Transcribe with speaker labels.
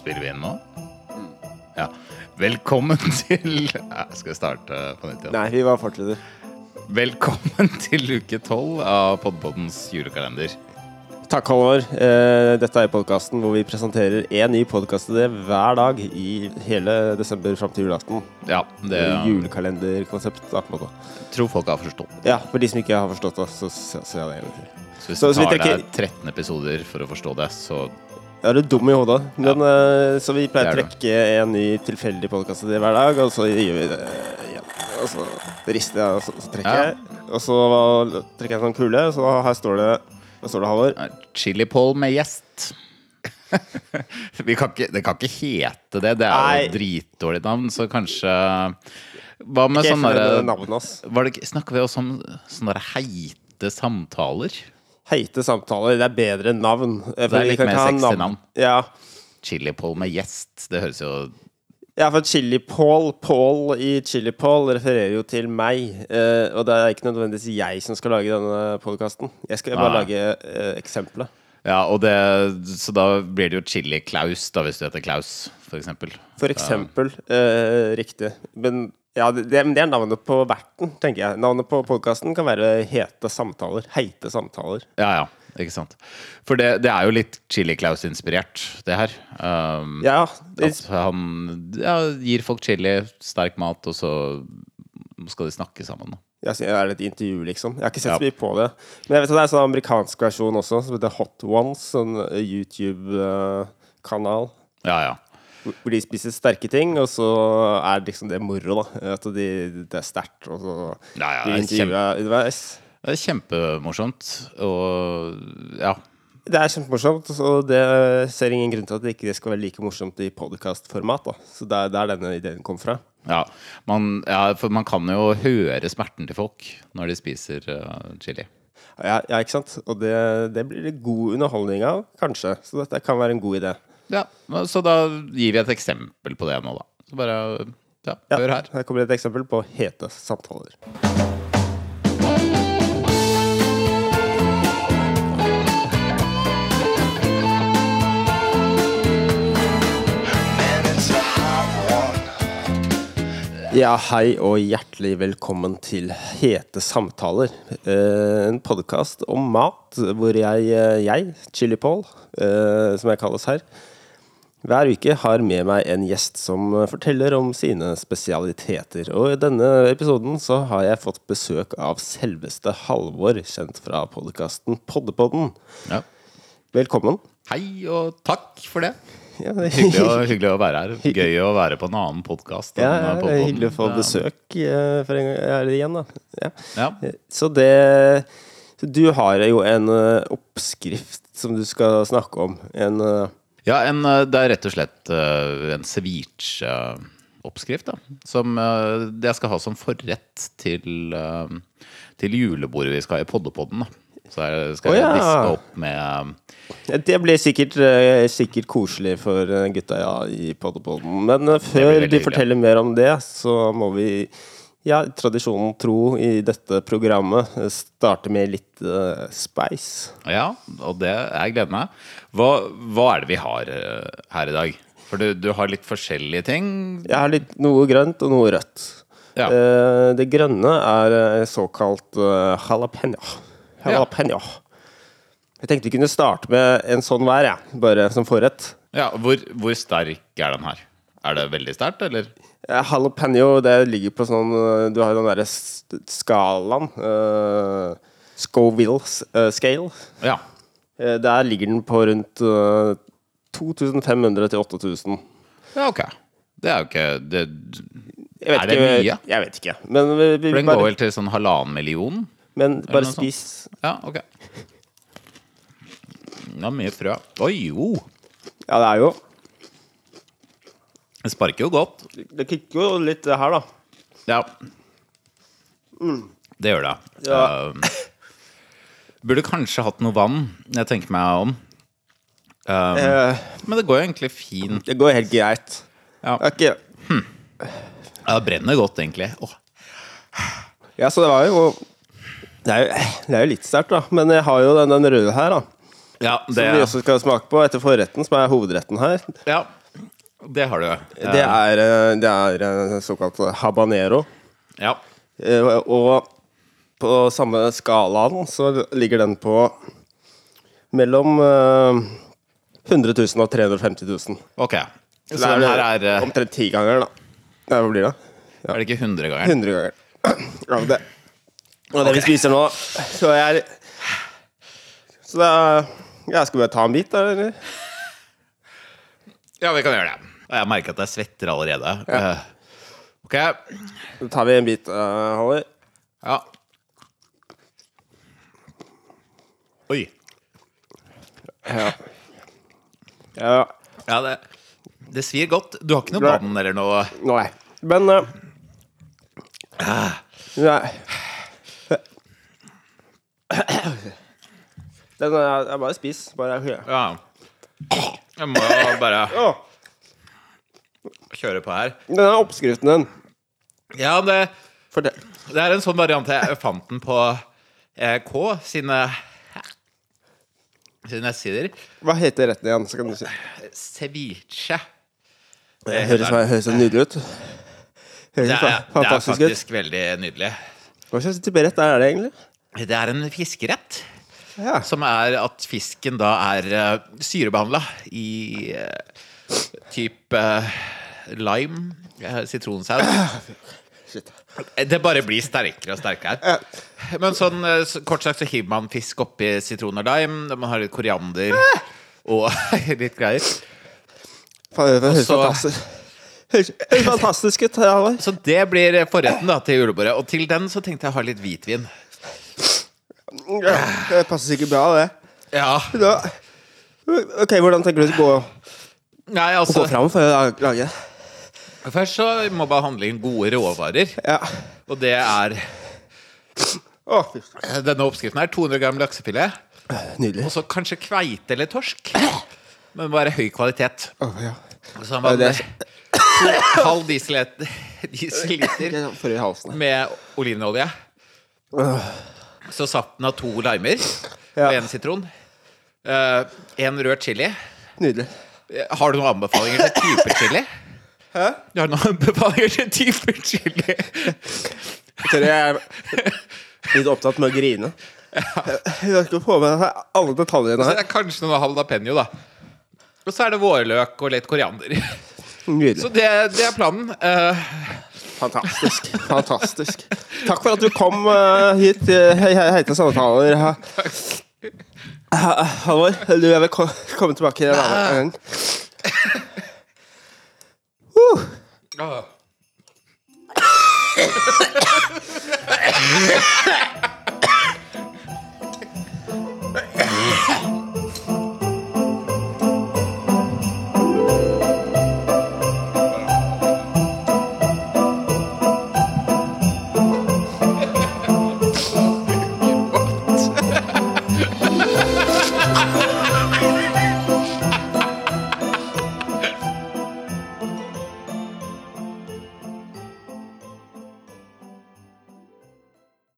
Speaker 1: Spiller vi inn nå? Ja. Velkommen til Ja, Skal jeg starte på nytt igjen?
Speaker 2: Nei, vi var fartleder.
Speaker 1: Velkommen til uke tolv av Podpoddens julekalender.
Speaker 2: Takk, Halvor. Eh, Dette er podkasten hvor vi presenterer én ny podkastidé hver dag i hele desember fram til julaften.
Speaker 1: Ja, det
Speaker 2: Julekalenderkonsept, da, på en måte.
Speaker 1: tror folk har forstått.
Speaker 2: Ja, for de som ikke har forstått det, så ser jeg det en gang til.
Speaker 1: Så hvis
Speaker 2: Så-
Speaker 1: det
Speaker 2: så vi
Speaker 1: tar deg
Speaker 2: trekker-
Speaker 1: 13 episoder for å forstå det, så
Speaker 2: Ja, du er dum i hodet. Men, eh, så vi
Speaker 1: Det
Speaker 2: pleier å
Speaker 1: er du.
Speaker 2: trekke en ny tilfeldig podkastidé hver dag, og så gjør vi det igjen. Og så rister jeg, og så, så trekker
Speaker 1: Ja.
Speaker 2: jeg. Og så trekker jeg en sånn kule, og så her står det, her står det Halvor.
Speaker 1: er chilipål med gjest. vi kan ikke, det kan ikke hete det. Det er
Speaker 2: Nei.
Speaker 1: jo dritdårlig navn, så kanskje Hva med
Speaker 2: Ikke
Speaker 1: sånn
Speaker 2: sånn
Speaker 1: derre
Speaker 2: navnet hans.
Speaker 1: var det ikke- Snakker vi også om sånne derre heite samtaler?
Speaker 2: Heite samtaler. Det er bedre navn. Det
Speaker 1: er litt mer sexy navn.
Speaker 2: Ja.
Speaker 1: Chilipål med gjest, det høres jo
Speaker 2: ja, for Chili-Paul Paul i Chili-Paul refererer jo til meg. eh, og det er ikke nødvendigvis jeg som skal lage denne podkasten. Jeg skal bare
Speaker 1: Nei.
Speaker 2: lage eh, eksempelet.
Speaker 1: Ja, og det, så da blir det jo Chili Klaus, da, hvis du heter Klaus, for eksempel.
Speaker 2: For eksempel. eh, riktig. Men ja, det, det men det er navnet på verten, tenker jeg. Navnet på podkasten kan være Hete samtaler. Heite samtaler.
Speaker 1: Ja, ja, ikke sant. For det, det er jo litt Chili Klaus-inspirert, det her. Um,
Speaker 2: Ja. Det,
Speaker 1: At han ja, gir folk chili, sterk mat, og så skal de snakke sammen. da.
Speaker 2: Jeg synes, er det et intervju, liksom? Jeg har ikke
Speaker 1: Ja.
Speaker 2: sett så mye på det. Men jeg vet at det er en sånn amerikansk versjon også, som heter Hot Ones. Sånn YouTube-kanal. eh,
Speaker 1: Ja, ja.
Speaker 2: Hvor de spiser sterke ting, og så er liksom det moro, da. At de, det er sterkt, og så
Speaker 1: Ja, ja,
Speaker 2: blir
Speaker 1: det er kjempe-
Speaker 2: intervjua underveis.
Speaker 1: Det er kjempemorsomt. Og ja.
Speaker 2: Det er kjempemorsomt, og det ser ingen grunn til at det ikke skal være like morsomt i podkastformat. Så det er der denne ideen kom fra.
Speaker 1: Ja, man, ja, for man kan jo høre smerten til folk når de spiser eh, chili.
Speaker 2: Ja, ja ikke sant? Og det, det blir det god underholdning av, kanskje. Så dette kan være en god idé.
Speaker 1: Ja, Så da gir vi et eksempel på det nå, da. Så bare ja,
Speaker 2: Ja,
Speaker 1: hør her.
Speaker 2: Her kommer et eksempel på hete samtaler. Ja, hei og hjertelig velkommen til Hete samtaler. Eh, En podkast om mat hvor jeg, eh, jeg Chili Paul, eh, som jeg kalles her, hver uke har med meg en gjest som eh, forteller om sine spesialiteter, og i denne episoden så har jeg fått besøk av selveste Halvor, kjent fra podkasten Poddepodden.
Speaker 1: Ja.
Speaker 2: Velkommen.
Speaker 1: Hei og takk for det.
Speaker 2: Ja, det er
Speaker 1: Hyggelig å, hyggelig å være her. Gøy å være på en annen podkast.
Speaker 2: ja, ja, det er hyggelig å få besøk eh, for en gang er det igjen, da. Ja.
Speaker 1: Ja.
Speaker 2: Så det så Du har jo en eh, oppskrift som du skal snakke om. En eh,
Speaker 1: ja en, eh, det er rett og slett eh, en ceviche-oppskrift, da. Som eh, jeg skal ha som forrett til, eh, til julebordet vi skal ha i Poddepodden. Da. Så jeg skal
Speaker 2: Å, ja.
Speaker 1: diske opp med
Speaker 2: Ja, Det blir sikkert, eh, sikkert koselig for eh, gutta ja, i Poddepodden. Men eh, før
Speaker 1: veldig
Speaker 2: de
Speaker 1: hyggelig.
Speaker 2: forteller mer om det, så må vi, ja, tradisjonen tro i dette programmet, eh, starte med litt eh, spice.
Speaker 1: Ja, og det jeg gleder meg. Hva, hva er det vi har eh, her i dag? For du, du har litt forskjellige ting.
Speaker 2: Jeg har litt noe grønt og noe rødt.
Speaker 1: Ja.
Speaker 2: Eh, Det grønne er eh, såkalt eh, jalapeño. Jalapeño. Jeg tenkte vi kunne starte med en sånn hver, jeg. Bare som forrett.
Speaker 1: Ja, hvor, hvor sterk er den her? Er det veldig sterkt, eller?
Speaker 2: Eh, Jalapeno, det ligger på sånn eh, Du har jo den derre s- skalaen. eh, Scoville s- eh, scale.
Speaker 1: Ja.
Speaker 2: Eh, der ligger den på rundt eh, 2500 til 8000.
Speaker 1: ja, ok. Det er jo ikke det,
Speaker 2: Jeg vet
Speaker 1: Er det
Speaker 2: ikke,
Speaker 1: mye?
Speaker 2: Jeg vet ikke. Men, vi, vi,
Speaker 1: For den går
Speaker 2: bare,
Speaker 1: vel til sånn halvannen million?
Speaker 2: men
Speaker 1: noe
Speaker 2: bare
Speaker 1: sånt?
Speaker 2: spis.
Speaker 1: Ja, ok. Det er mye frø. Oi, jo!
Speaker 2: Ja, det er jo
Speaker 1: Det sparker jo godt.
Speaker 2: Det kicker jo litt det her, da.
Speaker 1: Ja. Det gjør det.
Speaker 2: Ja.
Speaker 1: Eh, burde kanskje hatt noe vann, jeg tenker meg om. Eh,
Speaker 2: Eh,
Speaker 1: men det går jo egentlig fint.
Speaker 2: det går helt greit.
Speaker 1: Ja.
Speaker 2: Det er ikke
Speaker 1: Ja, det brenner godt, egentlig. Åh.
Speaker 2: Ja, så det var jo Det er jo, det er jo litt sterkt, da. Men jeg har jo den, den røde her, da.
Speaker 1: Ja, det,
Speaker 2: Som vi også skal smake på etter forretten, som er hovedretten her.
Speaker 1: ja, Det har du.
Speaker 2: Det er, eh, det er eh, såkalt habanero.
Speaker 1: Ja.
Speaker 2: Eh, Og på samme skalaen så ligger den på mellom eh, 100 000 og 350 000.
Speaker 1: Ok. Så
Speaker 2: det
Speaker 1: den her er eh,
Speaker 2: omtrent ti ganger, da. Nei, hva blir det?
Speaker 1: Er det ikke 100-gangeren?
Speaker 2: 100 ganger. Ja, men det. Og det vi spiser nå, så jeg Så det er ja, Skal vi bare ta en bit, da, eller?
Speaker 1: Ja, vi kan gjøre det. Og jeg merker at jeg svetter allerede. Eh, Ok.
Speaker 2: Da tar vi en bit, uh, Haller.
Speaker 1: Ja. Oi.
Speaker 2: Ja,
Speaker 1: Ja, det, det svir godt. Du har ikke noe
Speaker 2: Nei.
Speaker 1: vann eller noe
Speaker 2: nei. Men eh,
Speaker 1: Ah.
Speaker 2: Nei. Den er, jeg bare spis. Bare
Speaker 1: Ja. Jeg må jo bare
Speaker 2: Å,
Speaker 1: kjøre på her.
Speaker 2: Den er oppskriften din.
Speaker 1: Ja, det,
Speaker 2: Fortell.
Speaker 1: det er en sånn variant. Jeg fant den på eh, K sine sine nettsider.
Speaker 2: Hva heter retten igjen? Så kan du si.
Speaker 1: Ceviche.
Speaker 2: Det høres, høres så nydelig ut. Høres
Speaker 1: Det er,
Speaker 2: fa-
Speaker 1: det er
Speaker 2: fantastisk ut.
Speaker 1: faktisk veldig nydelig.
Speaker 2: Hva slags type rett er det egentlig?
Speaker 1: Det er en fiskerett.
Speaker 2: Ja.
Speaker 1: Som er at fisken da er uh, syrebehandla i uh, type eh, lime, eh, sitronsaus.
Speaker 2: Shit.
Speaker 1: Det bare blir sterkere og sterkere. Men sånn, eh, så- kort sagt så hiver man fisk oppi sitron og lime. Man har litt koriander og litt greier.
Speaker 2: Faen, det høres
Speaker 1: så-
Speaker 2: fantastisk Høres høres fantastisk ut. her, Halvor.
Speaker 1: Så det blir forretten da til julebordet. Og til den så tenkte jeg å ha litt hvitvin.
Speaker 2: Ja,
Speaker 1: Ah.
Speaker 2: Det passer sikkert bra, det.
Speaker 1: Ja,
Speaker 2: Da. Ok, Hvordan tenker du å gå,
Speaker 1: nei
Speaker 2: gå
Speaker 1: altså
Speaker 2: fram for å la- lage det?
Speaker 1: Først så må bare handle inn gode råvarer.
Speaker 2: Ja.
Speaker 1: Og det er eh,
Speaker 2: Å, fy faen.
Speaker 1: Denne oppskriften her. 200 gram laksefilet.
Speaker 2: Nydelig.
Speaker 1: Og så kanskje kveite eller torsk. Men bare høy kvalitet.
Speaker 2: Å, ja.
Speaker 1: Så man,
Speaker 2: Ja, det er-
Speaker 1: to- halv dieselet- dieselliter
Speaker 2: Jeg får det i halsen.
Speaker 1: med olivenolje. Så saften av to limer
Speaker 2: Ja.
Speaker 1: og én sitron. Eh, En rød chili.
Speaker 2: Nydelig.
Speaker 1: Eh, Har du noen anbefalinger til typer chili? Hæ? Du har noen anbefalinger til typer chili?
Speaker 2: Tør jeg er litt opptatt med å grine. Jeg skal få med deg alle
Speaker 1: Så
Speaker 2: detaljene her.
Speaker 1: det er kanskje noen jalapeño, da. Og så er det vårløk og litt koriander. Så
Speaker 2: Nydelig.
Speaker 1: det, det er planen. Eh,
Speaker 2: Fantastisk. Fantastisk. Takk for at du kom eh, hit til Hei, hei, heite samtaler. Ha- Ha- Halvor, du er velkommen tilbake en annen gang. Uh,
Speaker 1: Åh.